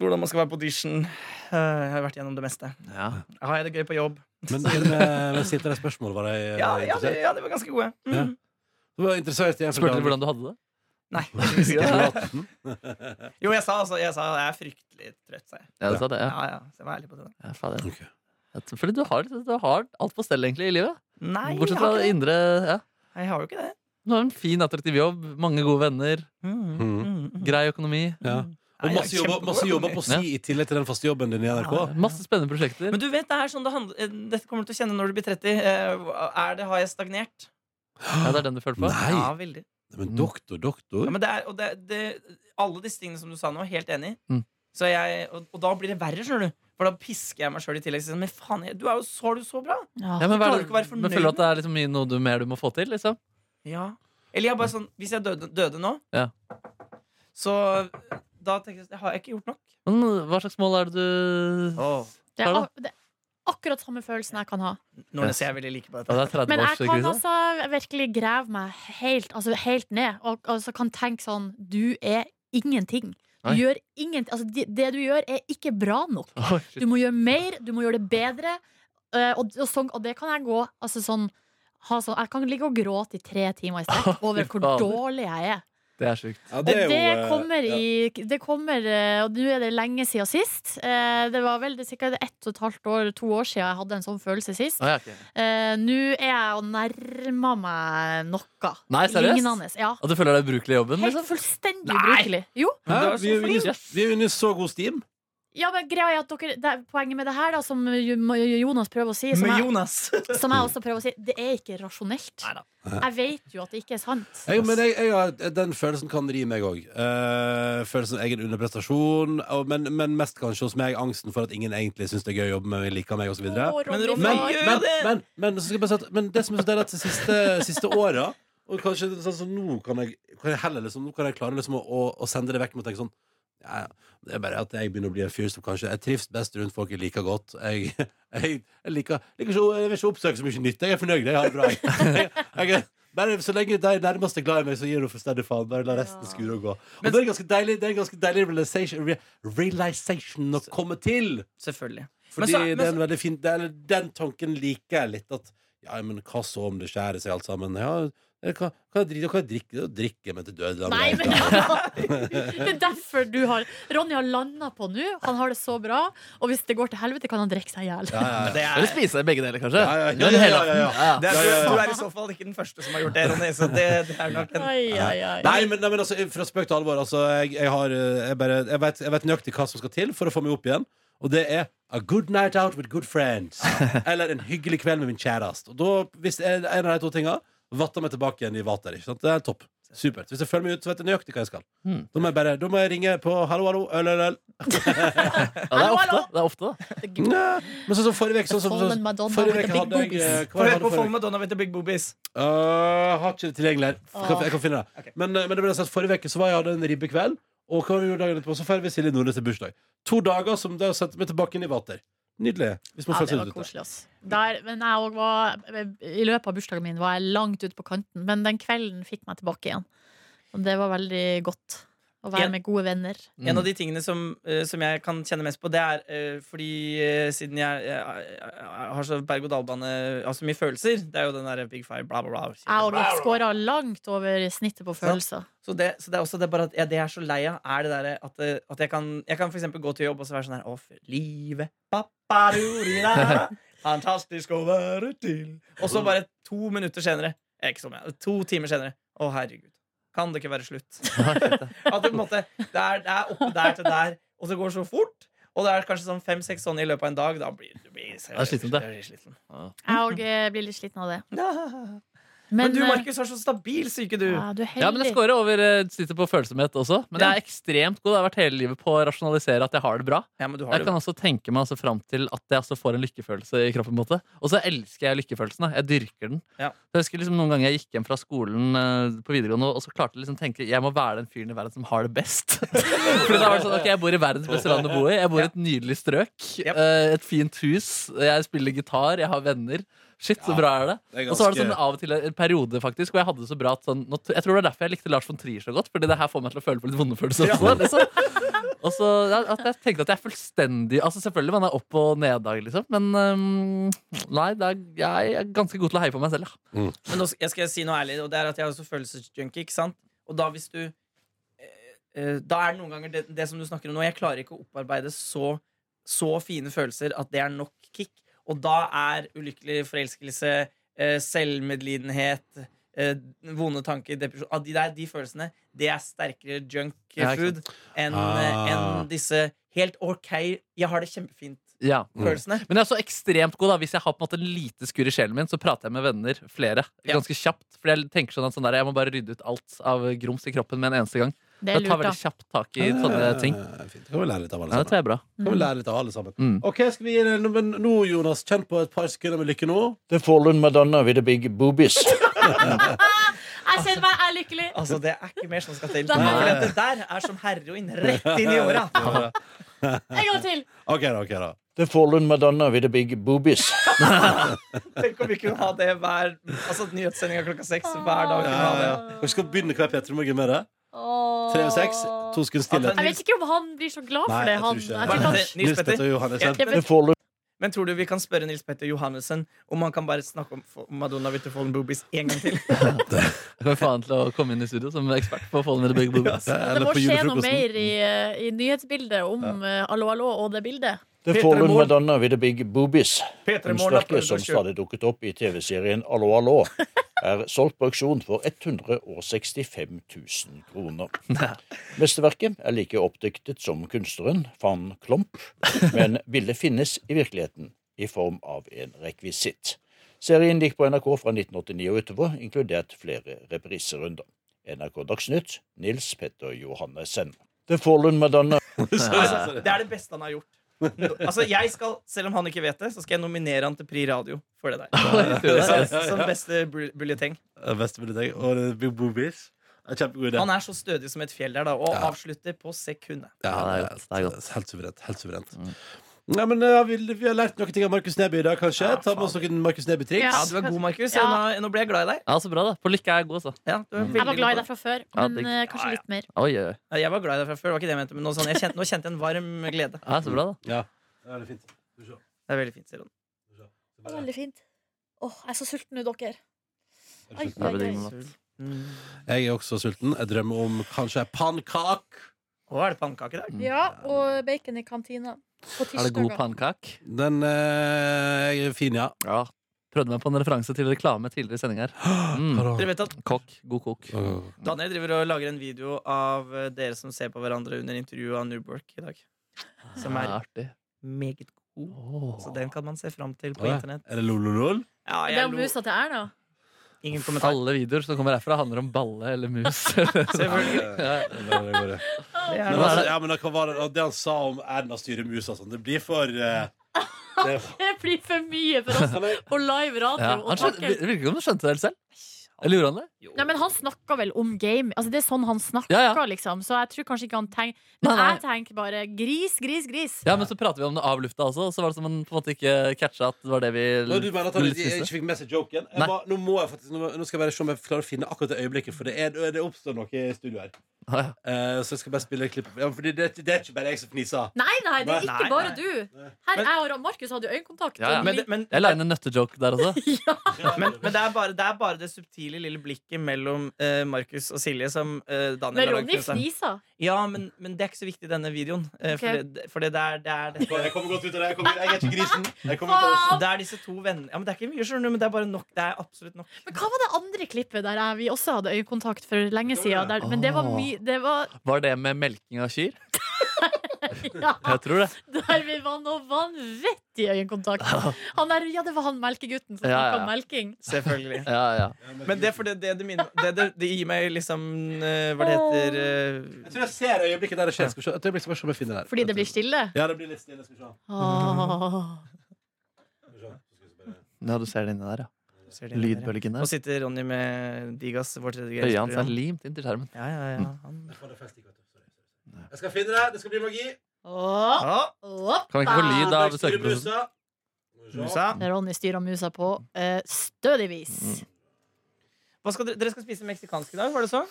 Hvordan man skal være på audition. Eh, Jeg har vært gjennom det meste.
Ja.
Har jeg det gøy på jobb?
Men, men, eh, men stilte deg spørsmål, var jeg eh,
Ja, ja, det,
interessert?
ja de var ganske gode. Mm.
Du var interessert i en
Spurte du hvordan du hadde det?
Nei. jeg skal ikke si det.
Soldaten.
Jo, jeg sa altså jeg sa, jeg er fryktelig trøtt, sa jeg.
Ja, du sa det, ja.
Ja, ja, så jeg var ærlig på det. da.
ja fader.
Ok.
Jeg- Fordi du har, du har alt på stell, egentlig, i livet.
Nei, jeg
Bortsett fra
har, ikke
det
det.
indre ja.
Nei, jeg har jo ikke det.
Du har en fin, attraktiv jobb, mange gode venner,
Mm,
Mm.
mm, mm.
grei økonomi.
Ja.
Nei,
Og
jeg er
masse jobber, masse
kjempegod.
jobber på si i tillegg til den faste jobben din i NRK.
Masse spennende prosjekter.
Men du vet, det er sånn det handler eh, Dette kommer du til å kjenne når du blir 30. Eh, Er det, har jeg stagnert?
ja, det er den du følte på?
Nei!
Ja, veldig.
Men doktor, doktor
Ja, men det er, og det, det, alle disse tingene som du sa nå, helt enig i.
Mm.
Så jeg, og, og da blir det verre, skjønner du. For da pisker jeg meg sjøl i tillegg. Sånn, men faen, jeg, du er jo så, har du så bra!
Ja, men, hva er
Klarer du ikke å være
det,
fornøyd
men føler du at det er liksom mye noe du, mer du må få til? Liksom?
Ja. Eller jeg bare sånn Hvis jeg døde, døde nå,
Ja.
så da tenker jeg sånn, har jeg ikke gjort nok.
Men hva slags mål er det du
Det er,
Hva da?
ak- det er akkurat samme følelsen jeg kan ha.
Nordnes, jeg er veldig like på
ja,
dette.
Det er
Men jeg kan
30-årskrisa?
altså virkelig grave meg helt, altså helt ned og altså kan tenke sånn Du er ingenting. Du
Nei.
gjør ingen, altså, det, det du gjør, er ikke bra nok.
Oi, shit.
Du må gjøre mer, du må gjøre det bedre. eh, og, og, sånn, og det kan jeg gå altså, sånn, ha sånn, Jeg kan ligge og gråte i tre timer i strekk over hvor
fader.
dårlig jeg er.
Det er sjukt.
Ja,
Det,
er jo, eh,
kommer
ja.
i Det kommer eh, Og nå er det lenge siden sist. Eh, det var vel det er sikkert ett og et halvt år, to år siden jeg hadde en sånn følelse sist.
Ah, ja, ok.
Eh, nå er jeg og nærmer meg noe
Nei, seriøst?
lignende. Ja.
At du føler deg ubrukelig i jobben?
Helt
Liksom?
fullstendig ubrukelig. Jo.
Hæ? Vi er jo inne i-
Yes.
vi er jo inne i så god steam.
Ja, men greia er at dere, det, er- Poenget med det her, da, som Jo- Jonas prøver å si, som
Med
jeg,
Jonas.
som jeg også prøver å si, det er ikke rasjonelt.
Neida.
Jeg vet jo at det ikke er sant.
Jeg, men jeg, jeg, har- den følelsen kan ri meg òg. følelsen av egen underprestasjon, og, men, men mest kanskje hos meg angsten for at ingen egentlig syns det er gøy å jobbe med meg, liker meg osv.
Å, Ronny,
Men Ronny-
Men,
far.
gjør jo
men,
det!
men, men, så skal jeg bare si at, men det som er så deilig at de siste, siste åra Og kanskje det er sånn som nå kan jeg, kan jeg heller liksom, Nå kan jeg klare liksom å, å, å sende det vekk med å tenke sånn ja, ja, Det er bare at jeg begynner å bli en fyr som kanskje Jeg trives best rundt folk jeg liker godt. Jeg, jeg, jeg liker, liker ikke, jeg vil ikke oppsøke så mye nytt. Jeg er fornøyd. Jeg har det bra. Jeg, jeg, jeg, bare så lenge de nærmeste er glad i meg, så gir hun fullstendig faen. Bare la resten skure og gå. Og det er en ganske deilig, det er en ganske deilig realization, re- realization å komme til.
Selvfølgelig. Men
Fordi
så- men
det er
så-
en veldig fin det, eller, Den tanken liker jeg litt At, ja, men hva så om det skjærer seg alt sammen Ja, eller hva, hva, dri- hva drikker du? Drikker meg til død da,
Nei,
men-
men Det er derfor du har Ronny har landa på nå. Han har det så bra. Og hvis det går til helvete, kan han drikke seg i hjel.
ja, ja, ja.
Det er,
Eller spise begge deler, kanskje?
Ja, ja, ja,
Gjøre det
ja,
hele
ja, ja, ja.
aften. Ja, ja.
det er,
Ja, ja, ja.
Du er i så fall ikke den første som har gjort det, Ronny. Så det, det er nok en
Ai, ai, ai.
Nei, men, nei, men altså, fra spøk til alvor altså, jeg, jeg, har, eh, jeg, bare, jeg, vet, jeg vet nøyaktig hva som skal til for å få meg opp igjen Og det er A good night out with good friends Eller en hyggelig kveld med min kjærest Og da, hvis jeg, en av de to tingene Vatter meg tilbake igjen i vater ikke sant? Det er topp, supert Hvis jeg føler meg ut, så vet jeg nøyaktig hva jeg skal
Hmm.
Da må jeg bare, da må jeg ringe på Hallo, hallo, øl, øl, øl
Ja, det er ofte. Det er ofte da.
Det er gud.
Nei, men sånn som forrige uke sånn, som-
Fallen Madonna
Forrige
with
uke
the big
hadde jeg
boobies.
eh, hva var
Få
det jeg
høre
hadde forrige
på
uke?
Follen Madonna with the big boobies.
Øh, Har ikke det tilgjengelig her. Kan- Jeg kan finne det.
Ok.
Men, eh, men det ble sagt, forrige uke så var jeg hadde en ribbekveld, og hva gjorde vi dagen etterpå? Så feirer vi Silje Nordnes til bursdag. To dager som det har sett meg tilbake inn i vater. Nydelig. Hvis man
Ja,
føler
det
seg
var
ute.
koselig, ass. Der, men jeg òg var I løpet av bursdagen min var jeg langt ute på kanten, men den kvelden fikk meg tilbake igjen. Og det var veldig godt. Å være
En-
med gode venner.
En av de tingene som, eh, som jeg kan kjenne mest på, det er eh, fordi eh, siden jeg, jeg, jeg har så berg-og-dal-bane, har så mye følelser Det er jo den der Big Five, bla, bla,
Jeg
bla.
har skåra langt over snittet på følelser.
Så det, så det er også det er bare at jeg, det jeg er så lei av, er det derre at, eh, at jeg kan, jeg kan for eksempel gå til jobb og så være sånn her Å, for livet paparurira, Fantastisk å være til Og så bare to minutter senere eh, Ikke som jeg, to timer senere Å, herregud. Kan det ikke være slutt? At det, på en måte, det, er, det er oppe der til der, og det går så fort. Og det er kanskje sånn fem-seks sånne i løpet av en dag. Da blir du blir,
er slitsomt, det.
du blir sliten.
Jeg òg eh, blir litt sliten av det. Men,
Men, du,
eh,
Markus, har så stabil syke, du.
Ja, du er heldig.
Ja, men jeg scorer over eh, snittet på følsomhet også. Men jeg er ekstremt god. Jeg har vært hele livet på å rasjonalisere at jeg har det bra.
Ja, men du har
Jeg
det
kan
bra.
også tenke meg altså fram til at jeg altså får en lykkefølelse i kroppen. på en måte Og så elsker jeg lykkefølelsen. da. Jeg dyrker den.
Ja.
Jeg husker liksom Noen ganger jeg gikk hjem fra skolen eh, på videregående og så klarte jeg liksom å tenke jeg må være den fyren i verden som har det best. Fordi da var det sånn, ok, Jeg bor i verdens beste land å bo i. Jeg bor i et nydelig strøk.
Yep.
eh, Et fint hus. Jeg spiller gitar. Jeg har venner. Shit, så
Ja.
bra er det.
Det er
Og så var det
ganske-
sånn av og til en periode faktisk hvor jeg hadde det så bra at sånn, nå t- Jeg tror det er derfor jeg likte Lars von Trier så godt, Fordi det her får meg til å føle på litt vonde følelser også. Liksom. Og så ja, at jeg tenkte at jeg er fullstendig Altså Selvfølgelig man er opp- og neddag, liksom, men øhm, nei, det er, jeg er ganske god til å heie på meg selv. Ja.
Men nå skal jeg skal si noe ærlig, og det er at jeg er også følelsesjunkie. ikke sant? Og da hvis du eh, eh, Da er det noen ganger det, det som du snakker om nå Jeg klarer ikke å opparbeide så, så fine følelser at det er nok kick. Og da er ulykkelig forelskelse, eh, selvmedlidenhet, eh, vonde tanker, depresjon ah, de, der, de følelsene, det er sterkere junk
Ja, ikke
food
sant.
enn
Ah.
eh, enn disse helt OK, jeg har det kjempefint-følelsene.
Ja. Men jeg er så ekstremt god da Hvis jeg har på en måte en lite skur i sjelen min, så prater jeg med venner flere
Ja.
ganske kjapt. Fordi jeg tenker sånn at sånn der, jeg må bare rydde ut alt av grums i kroppen med en eneste gang.
Det er
Jeg tar
lurt, da.
veldig kjapt tak i sånne ting.
Eh, fint. Det kan vi lære litt av alle
Ja, det
sammen.
tror jeg er bra.
Det kan vi lære litt av alle sammen.
Mm.
Ok, skal vi gi det nå, men nå, Jonas, kjenn på et par sekunder med lykke nå.
The Fallen Madonna with the Big Boobies.
Jeg kjenner meg jeg er lykkelig.
Altså, Det er ikke mer som skal til.
Nei.
For dette der er som heroin rett inn i åra.
En gang til.
Ok da, ok da.
The Fallen Madonna with the Big Boobies.
Tenk om vi kunne ha det hver Altså
Ah.
Eh,
nyhetssendinga klokka seks hver dag. Kunne ha det.
Vi skal begynne hver Petremorgen med det. Tre og seks. to sekunds stillhet.
At
Jeg vet ikke om han blir så glad for
Nei,
det.
jeg tror
Han,
ikke det.
jeg tror
Bare det-
kanskje,
Nils
Nils Petter
Petter.
Johannessen.
jeg vet,
Follow-
Men tror du vi kan spørre Nils Petter Johannessen om han kan bare snakke om F- Madonna with the Fallen Boobies en gang til?
Jeg kan få han til å komme inn i studio som ekspert på Fallen in the Big Boobies.
det
Eller
må
på
skje noe
julefrokosten.
mer i, eh, i nyhetsbildet om eh, Hallo, hallo og det bildet.
The
Peter
Fallen
Moore.
Madonna with the big boobies.
Peter
Den
Målen har
sterke
prøvd å
som
kjøpe
stadig dukket opp i TV-serien Allo, allo, er solgt på auksjon for 165 000 kroner. Mesterverket er like oppdiktet som kunstneren van Klomp, men bildet finnes i virkeligheten i form av en rekvisitt. Serien gikk på NRK fra 1989 og utover, inkludert flere repriserunder. NRK Dagsnytt, Nils Petter Johannessen. The Fallen Madonna
Altså, det er det beste han har gjort. No, altså, jeg skal, Selv om han ikke vet det, så skal jeg nominere han til Pri Radio for det der. Som, som beste bul- bulleteng.
Det beste med deg. Og det blir boobies. Det er Kjempegod idé.
Han er så stødig som et fjell der, da, og avslutter på sekundet.
Ja,
Ja, det er
helt-
godt, det er godt.
Helt suverent. Helt suverent.
Mm.
Nei, men eh, vi, vi har lært noen ting av Markus Neby i dag, kanskje. Ta med oss noen Markus
Ja.
Neby-triks.
Ja, du er god, Markus.
Ja.
Nå, nå ble jeg glad i deg.
Ja, så bra, da. På lykke er jeg god, altså.
Ja, du er veldig
Jeg var glad i
god på
deg fra før,
Ja,
men
det-
eh, kanskje litt mer.
Oi, oi, oi.
det. Jeg var glad i deg fra før. det var ikke det jeg mente Men nå, sånn, jeg kjente, nå kjente jeg en varm glede.
Ja, så bra, da.
Ja. Ja, det er fint. Skal vi se.
Det er veldig fint, sier han.
Det var veldig fint. Åh, jeg er så sulten nå, dere. Ai,
Jeg
ai,
Det blir
ai.
digg med mat.
er også sulten. Jeg drømmer om kanskje en pannkak.
Å, er det pannekake i dag?
Ja, og bacon i kantina. På
Er det god
tirsdager.
pannekake?
Den eh, er fin, ja.
Ja. Prøvde meg på en referanse til reklame tidligere i sending her. Mm.
Dere vet at
Kokk. God kokk.
Daniel driver og lager en video av eh, dere som ser på hverandre under intervjuet av Newbork i dag. Som
Ja,
er
artig.
meget god. Så den kan man se fram til på
Åh, ja.
internett.
Er det lololol?
Ja,
Det
jeg
er sånn- jo
lo.
musa til Erna.
Ingen kommentar.
Alle videoer som kommer herfra, handler om balle eller mus.
Selvfølgelig.
Men
Det er
altså, ja, men hva var det, det han sa om Erna styrer musa og sånn, det blir for eh, det er,
Det blir for mye for oss
Kan jeg-
på live
Ja, Altså,
radio. å
han skjønte,
takle.
vir- virker ikke som du skjønte det helt selv. Eller gjorde han det?
Nei, men han snakka vel om game. Altså, det er sånn han snakker,
Ja, ja.
liksom. Så jeg tror kanskje ikke han tenker Men
Nei, nei.
jeg tenker bare gris, gris, gris.
Ja, men så prater vi om det av lufta også, og så var det som han på en måte ikke catcha at det var det vi
Når du mener at han
ville
ikke,
spise.
ikke fikk med seg joken jeg
Nei.
må, nå, må jeg faktisk, nå, nå skal jeg bare se om jeg klarer å finne akkurat det øyeblikket, for det, er, det oppstår noe i studio her.
Ja, ja.
Eh, så jeg skal bare spille et klipp. Ja, fordi det, det er ikke bare jeg som fniser.
Nei, nei, det er
Nei,
ikke
nei,
bare
nei.
du. Her, jeg og Markus hadde jo øyekontakt.
Ja, ja.
og
Men,
vi-
det- men,
Jeg la inn en nøttejoke der også.
men, men det, er bare, det er bare det subtile lille blikket mellom eh, Markus og Silje som eh, Daniel
men
har
Ronny
lagd til seg.
fnisa.
Ja, men, men det er ikke så viktig i denne videoen. eh,
Ok.
For, det, for det, det, er, det, er, det,
Jeg kommer godt ut av det. Jeg, kommer, jeg er ikke grisen. Jeg kommer ut av det.
Faen!
det er disse to vennene Ja, men Det er ikke mye, skjønner du, men det er bare nok. Det er absolutt nok.
Men hva var det andre klippet der jeg, vi også hadde øyekontakt for lenge siden? Der, men det var
Åh.
mye Det var
Var det med melking av kyr?
ja,
Jeg tror det.
der vi var noe vanvittig øyekontakt. Han der, ja, det var han melkegutten som
Ja, ja,
snakka
ja.
om melking.
Selvfølgelig.
Ja, ja.
Men det, er fordi det, det, minner, det, det, det gir meg liksom eh, Hva det heter eh,
Jeg tror jeg ser øyeblikket der det skjer. Skal vi se. Et øyeblikk, skal vi se om jeg finner det her.
Fordi det blir stille?
Ja, det blir litt stille. Skal vi se.
Åh.
Mm.
Skal vi se.
ja, du ser det inni der, ja.
ser det der, ja.
Lydbølgene.
Nå sitter Ronny med Digas, vår tredje
Øya hans er
grenseprogram.
limt inntil skjermen.
Ja, ja, ja. Han...
Jeg får det fest i kveld. Sorry, sorry. Jeg skal finne det. Det skal bli magi.
Åh.
Ah,
Åh.
Kan vi ikke få lyd av
Jeg styrer
søkeprosessen?
musa. Skal vi se.
sånn. musa.
Ronny styrer musa på eh, stødig vis.
Hva skal dere, dere skal spise meksikansk i dag, var det så?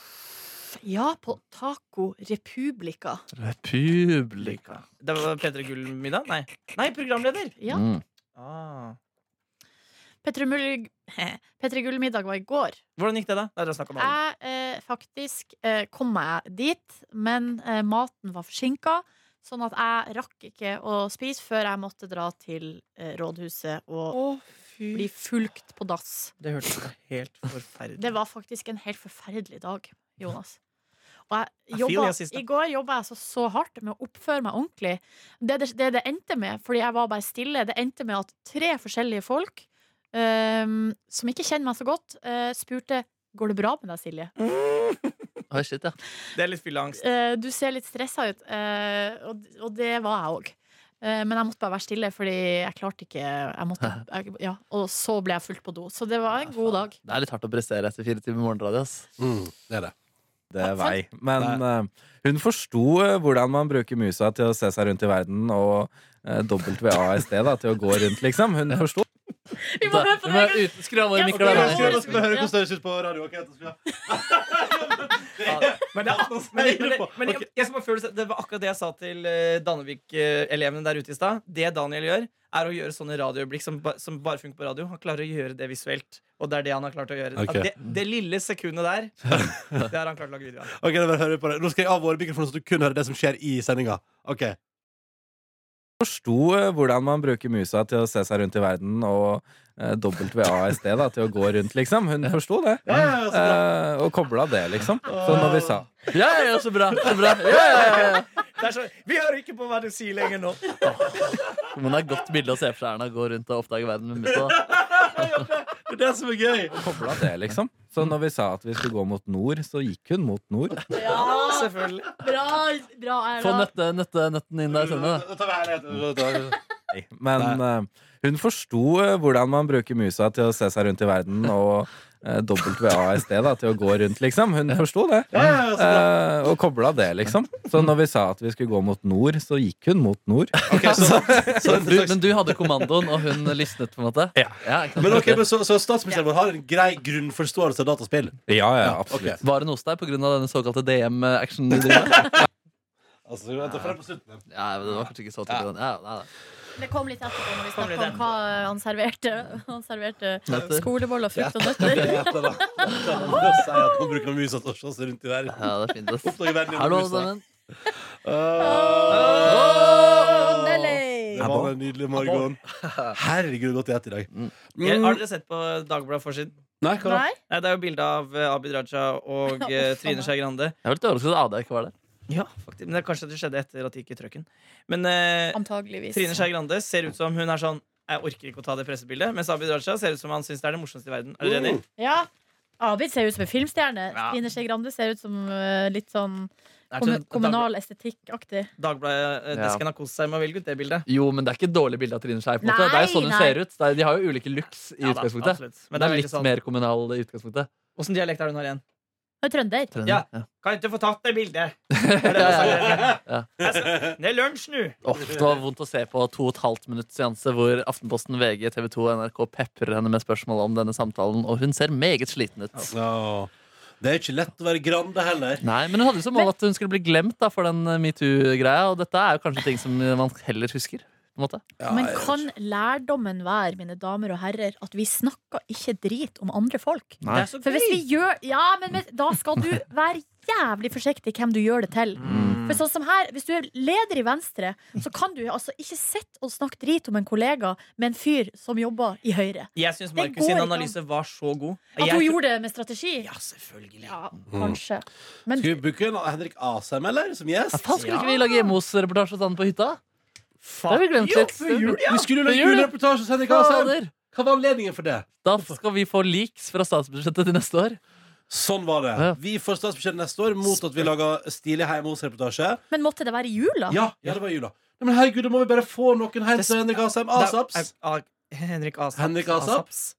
Ja, på Taco Republica.
Republika.
Det var P3 Gull-middag? Nei. Nei, programleder!
Ja.
Mm.
Ah.
Petter Mull- Petter Gullmiddag var i går.
Hvordan gikk det, da? Nei, dere har snakket om alle.
Jeg eh, faktisk eh, kom meg dit, men eh, maten var forsinka. Sånn at jeg rakk ikke å spise før jeg måtte dra til eh, rådhuset og
fy.
bli fulgt på dass.
Det hørtes jo helt forferdelig
Det var faktisk en helt forferdelig dag, Jonas. Og
I
jeg
feel
jobba,
your sister.
I går jobba jeg så, så hardt med å oppføre meg ordentlig. Det det, det det endte med, fordi jeg var bare stille, det endte med at tre forskjellige folk øhm, som ikke kjenner meg så godt, øh, spurte Går det bra med deg, Silje.
Oi, shit, ja.
Det er litt fylleangst.
Eh, du ser litt stressa ut. eh, og, og det var jeg òg. Eh, men jeg måtte bare være stille, fordi jeg klarte ikke jeg måtte, jeg, ja, Og så ble jeg fulgt på do. Så det var en god dag.
Det er litt hardt å prestere etter fire timer morgenradio. ass.
Mm, det er det.
Det er vei. Men eh, hun forsto eh, hvordan man bruker musa til å se seg rundt i verden, og eh, WASD da, til å gå rundt, liksom. Hun forsto.
Vi må høre på det!
Vi må
en gang.
ut- Skru av våre
Ja,
mikrofoner.
skru av våre-
Skal vi høre hvordan det høres ut på radio? ok? Da skal vi ha-
Men det er ak- men- men det- men jeg- jeg skal bare føle- Det var akkurat det jeg sa til eh, Dannevik-elevene der ute i stad. Det Daniel gjør, er å gjøre sånne radioøyeblikk som, ba, som bare funker på radio. Han klarer å gjøre det visuelt. Og det er det han har klart å gjøre. At
Ok.
Det, det lille sekundet der, det har han klart å lage video av.
Ok, da bare hører vi på det Nå skal jeg av våre mikrofoner, så du kun hører det som skjer i sendinga. Ok
forsto eh, hvordan man bruker musa til å se seg rundt i verden og eh, WASD da, til å gå rundt, liksom. Hun forsto det. Eh, og kobla det,
Sånn.
liksom. Så når vi sa
Ja, ja, så bra. Så bra. Ja, ja, ja, ja.
Det er så, vi hører ikke på hva du sier lenger nå.
Man har et godt bilde å se for seg Erna gå rundt og oppdage verden med musa.
Det er det som er gøy!
Kobla det, liksom. Så når vi sa at vi skulle gå mot nord, så gikk hun mot nord.
Ja,
Ah! Selvfølgelig.
bra, bra
Få
Erna.
nøtte, nøtte, nøtten inn der. Skjønner du?
Da tar vi her et-
Nei, Men eh, hun forsto eh, hvordan man bruker musa til å se seg rundt i verden og eh, WASD da, til å gå rundt, liksom. Hun forsto det. Eh, og kobla det, liksom. Så når vi sa at vi skulle gå mot nord, så gikk hun mot nord.
Ok, så, så,
Du, men du hadde kommandoen, og hun lysnet, på en måte? Ja. jeg kan
men ok,
tenke
men
det.
så, så statsministeren vår har en grei grunnforståelse av dataspill?
Ja, ja,
Ok.
absolutt.
Var hun hos deg pga. denne såkalte DM-action? Ja,
Altså, vi venter for det på slutten.
men det var kanskje ikke så tydelig. Ja, nei, nei.
Det kom litt etterpå når vi
Kom litt
snakka om hva han serverte. Han serverte
Nøtter.
skoleboller, frukt og nøtter.
Ja, da, da. Da sier jeg at Nå bruker vi musa til å slå seg rundt i verden.
Ja, det er fint, ass.
Oppdage verden
Hallo,
gjennom
alle
musa.
sammen.
Åh, Nelly!
Det var en nydelig morgen. Herregud, godt Mm. jeg het i dag.
Jeg, har dere sett på Dagbladet forsiden?
Nei, hva da?
Nei?
Nei, Det er jo bilde av eh, Abid Raja og eh, Trine Skei Grande.
Jeg var litt overrasket at Ada ikke var der.
Ja, faktisk. Men det er kanskje det skjedde etter at de gikk i trøkken. Men eh,
Antageligvis.
Trine Skei Grande ser ut som hun er sånn Jeg orker ikke å ta det pressebildet. Mens Abid Raja ser ut som han syns det er det morsomste i verden. Er dere enig?
Mm.
Ja. Abid ser ut som en filmstjerne.
Ja.
Trine Skei Grande ser ut som eh, litt sånn
Det er
kommu-
til-
kommunal estetikkaktig.
Dag- Dagbladet eh,
Ja.
desken har kost seg med å velge ut det bildet.
Jo, men det er ikke et dårlig bilde av Trine Skei. på en måte.
Nei,
Det er jo sånn hun
nei.
ser ut. Det er- De har jo ulike looks i
Ja da,
utgangspunktet.
absolutt.
Men
Men
det
det
er
veldig
litt
sånn-
mer kommunal i utgangspunktet.
Åssen dialekt er det hun har igjen?
Hun er trønder.
Trønder.
Ja.
Ja.
Kan ikke få tatt det bildet.
Ja, ja, ja.
Det er lunsj nå!
Åh, det var vondt å se på to og et halvt minutts seanse hvor Aftenposten, VG, TV 2 og NRK peprer henne med spørsmål om denne samtalen, og hun ser meget sliten ut.
Ja. Det er ikke lett å være Grande heller.
Nei, Men hun hadde jo som mål at hun skulle bli glemt da, for den eh, metoo-greia, og dette er jo kanskje ting som man heller husker. På en måte.
Men kan lærdommen være, mine damer og herrer, at vi snakker ikke drit om andre folk?
Det er så
For hvis vi
gøy!
gjør Ja, men hvis- da skal du være jævlig forsiktig hvem du gjør det til.
Mm.
For sånn som her, Hvis du er leder i Venstre, så kan du altså ikke sitte og snakke drit om en kollega med en fyr som jobber i Høyre.
Jeg syns Markus
går
sin
ikke an.
analyse var så god.
At
Jeg
hun
tror-
gjorde det med strategi?
Ja, Mm. selvfølgelig.
Ja, kanskje. Men
Skal vi booke en Henrik Asheim, eller? Som gjest?
Faen, skulle ikke vi lage Emos-reportasje hos han på hytta? Det har vi glemt
Jo,
litt.
før jul, ja.
Vi skulle jo
Før
lage
jul, ja.
julereportasje hos Henrik Asheim!
Fader!
Hva var anledningen for det?
Da skal vi få leaks fra statsbudsjettet til neste år.
Sånn var det.
Ja.
Vi får statsbudsjett neste år mot at vi lager stilig hjemme hos-reportasje.
Men måtte det være i jula?
Ja, ja, det var jula. Nei, men herregud, da må vi bare få noen helt
Det-
til Henrik Asheim.
Da-
Asaps.
er- er- Henrik Asaps.
Henrik Asaps.
Asaps.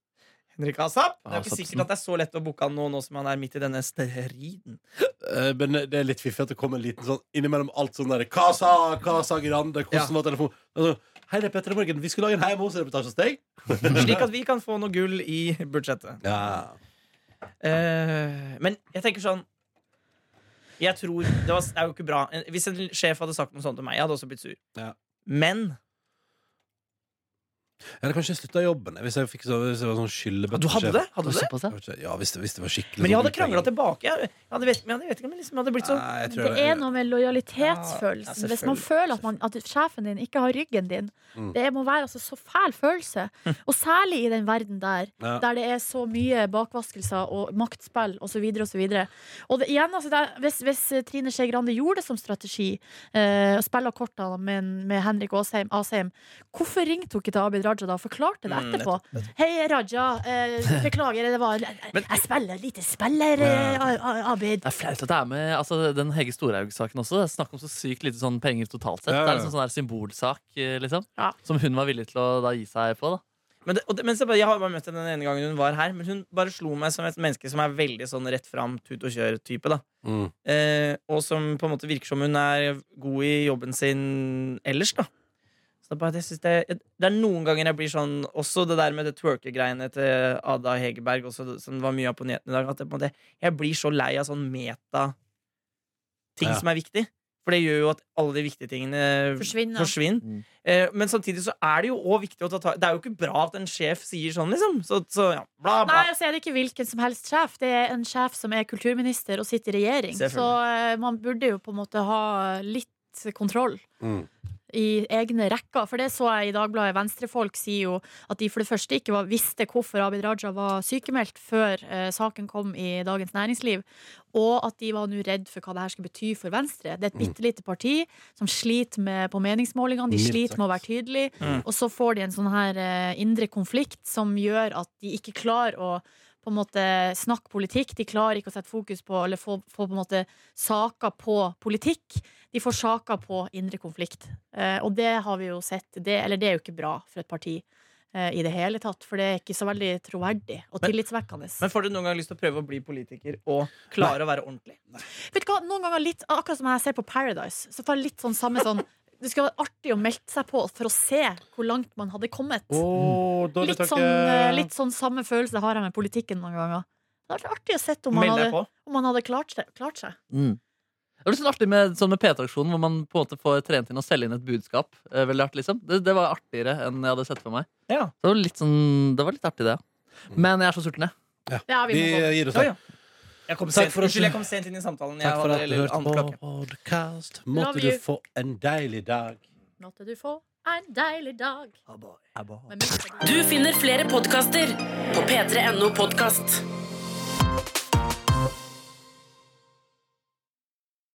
Henrik Asap. Det er ikke
Asapsen.
sikkert at det er så lett å booke han nå, nå som han er midt i denne striden.
Eh, Men det er litt fiffig at det kom en liten sånn innimellom alt sånn derre Hva sa hva sa Grande? Hvordan
Ja.
var telefonen? Altså, Hei, det er Petter i Morgen. Vi skulle lage en hjemme hos-reportasje hos deg.
Slik at vi kan få noe gull i budsjettet.
Ja.
Eh, men jeg tenker sånn Jeg tror det, var, det er jo ikke bra. En- Hvis en sjef hadde sagt noe sånt til meg, jeg hadde også blitt sur.
Ja.
Men
Eller kanskje jeg slutta i jobben jeg, hvis jeg fikk så, hvis jeg var sånn skyllebøtte.
Ah, Du hadde det? Hadde du det?
Såpass, ja.
Ja, hvis det, hvis det var skikkelig
Men jeg
sånn
hadde krangla
utlendinger.
tilbake. Jeg jeg hadde vet, men jeg hadde- vet ikke om jeg liksom hadde blitt så
Nei, jeg tror
Det
det
er noe med
Ja,
lojalitetsfølelsen.
selvfølgelig.
Hvis man føler at, man, at sjefen din ikke har ryggen din.
Mm.
Det må være altså så fæl følelse.
Hm.
Og særlig i den verden der.
Ja.
Der det er så mye bakvaskelser og maktspill osv. Og, så videre, og, så videre. og det, igjen, altså, det, er- hvis, hvis Trine Skei Grande gjorde det som strategi, eh, og spilla kortene med, med Henrik Asheim, Asheim, hvorfor ringte hun ikke til Abid Raja da og forklarte det
Mm,
etterpå? Hei, Raja. Eh, beklager, det var Jeg spiller lite spiller, eh, A- A- Abid.
Det er flaut at det er med altså, den Hege Storhaug-saken også. Det er Snakk om så sykt lite sånn penger totalt sett.
Ja, ja, ja.
Det er liksom sånn der symbolsak eh, liksom,
Ja.
som hun var villig til å da, gi seg på. Da.
men det, og det, men se på- Jeg har bare møtt henne den ene gangen hun var her, men hun bare slo meg som et menneske som er veldig sånn rett fram, tut og kjør-type. da
Mm.
Eh, og som på en måte virker som hun er god i jobben sin ellers, da. Så det er, bare, at jeg synes det, det er noen ganger jeg blir sånn Også det der med det twerkegreiene til Ada Hegerberg, også, som det var mye av på nyhetene i dag. At jeg, på en måte, jeg blir så lei av sånn meta ting
Ja.
som er viktig. For det gjør jo at alle de viktige tingene
Forsvinner.
forsvinner.
Mm.
Eh, men samtidig så er det jo òg viktig å ta tak Det er jo ikke bra at en sjef sier sånn, liksom. Så, så ja, bla, bla.
Nei, altså er det ikke hvilken som helst sjef. Det er en sjef som er kulturminister og sitter i regjering.
Selvfølgelig.
Så eh, man burde jo på en måte ha litt kontroll.
Mm.
I egne rekker. For det så jeg i Dagbladet. Venstrefolk sier jo at de for det første ikke var, visste hvorfor Abid Raja var sykemeldt før eh, saken kom i Dagens Næringsliv. Og at de var nå redd for hva det her skulle bety for Venstre. Det er et bitte lite parti som sliter med på meningsmålingene. De
Mildt
sliter med å være tydelig.
Mm.
Og så får de en sånn her eh, indre konflikt som gjør at de ikke klarer å på en måte snakke politikk. De klarer ikke å sette fokus på eller få, få på en måte saker på politikk. De får saker på indre konflikt. Eh, og det har vi jo sett. Det, eller det er jo ikke bra for et parti eh, i det hele tatt. For det er ikke så veldig troverdig og
Men-
tillitsvekkende.
Men får du noen gang lyst til å prøve å bli politiker og klare å være ordentlig?
Vet du hva, noen ganger litt Akkurat som jeg ser på Paradise Så får jeg litt sånn samme sånn Det skal være artig å melde seg på For å se hvor langt man hadde kommet litt, sånn, eh, litt sånn samme følelse har jeg med politikken noen ganger Det hadde vært artig å se om man
Meld deg
hadde,
på.
om man hadde klart, seg, klart seg
Mm. Det var litt sånn artig med, sånn med PT-aksjonen, hvor man på en måte får trent inn og selge inn et budskap. Eh, Veldig artig, liksom. det, det var artigere enn jeg hadde sett for meg.
Ja.
Så det var litt, sånn, det var litt artig, det.
Mm.
ja. Men jeg er så sulten, jeg.
Ja, vi
Vi
må gå
gir oss
Ja,
her.
ja. Jeg kom
Takk
sent,
for at
unnskyld,
du-
jeg kom sent inn i samtalen. Jeg
Takk for at
var
du
allerede annet
hørte
klokke.
på podcast.
Love
Måtte du
you.
få en deilig dag.
Måtte du få en deilig dag
Ah, boy.
Med mindre-
Du finner flere podkaster på p3.no podkast.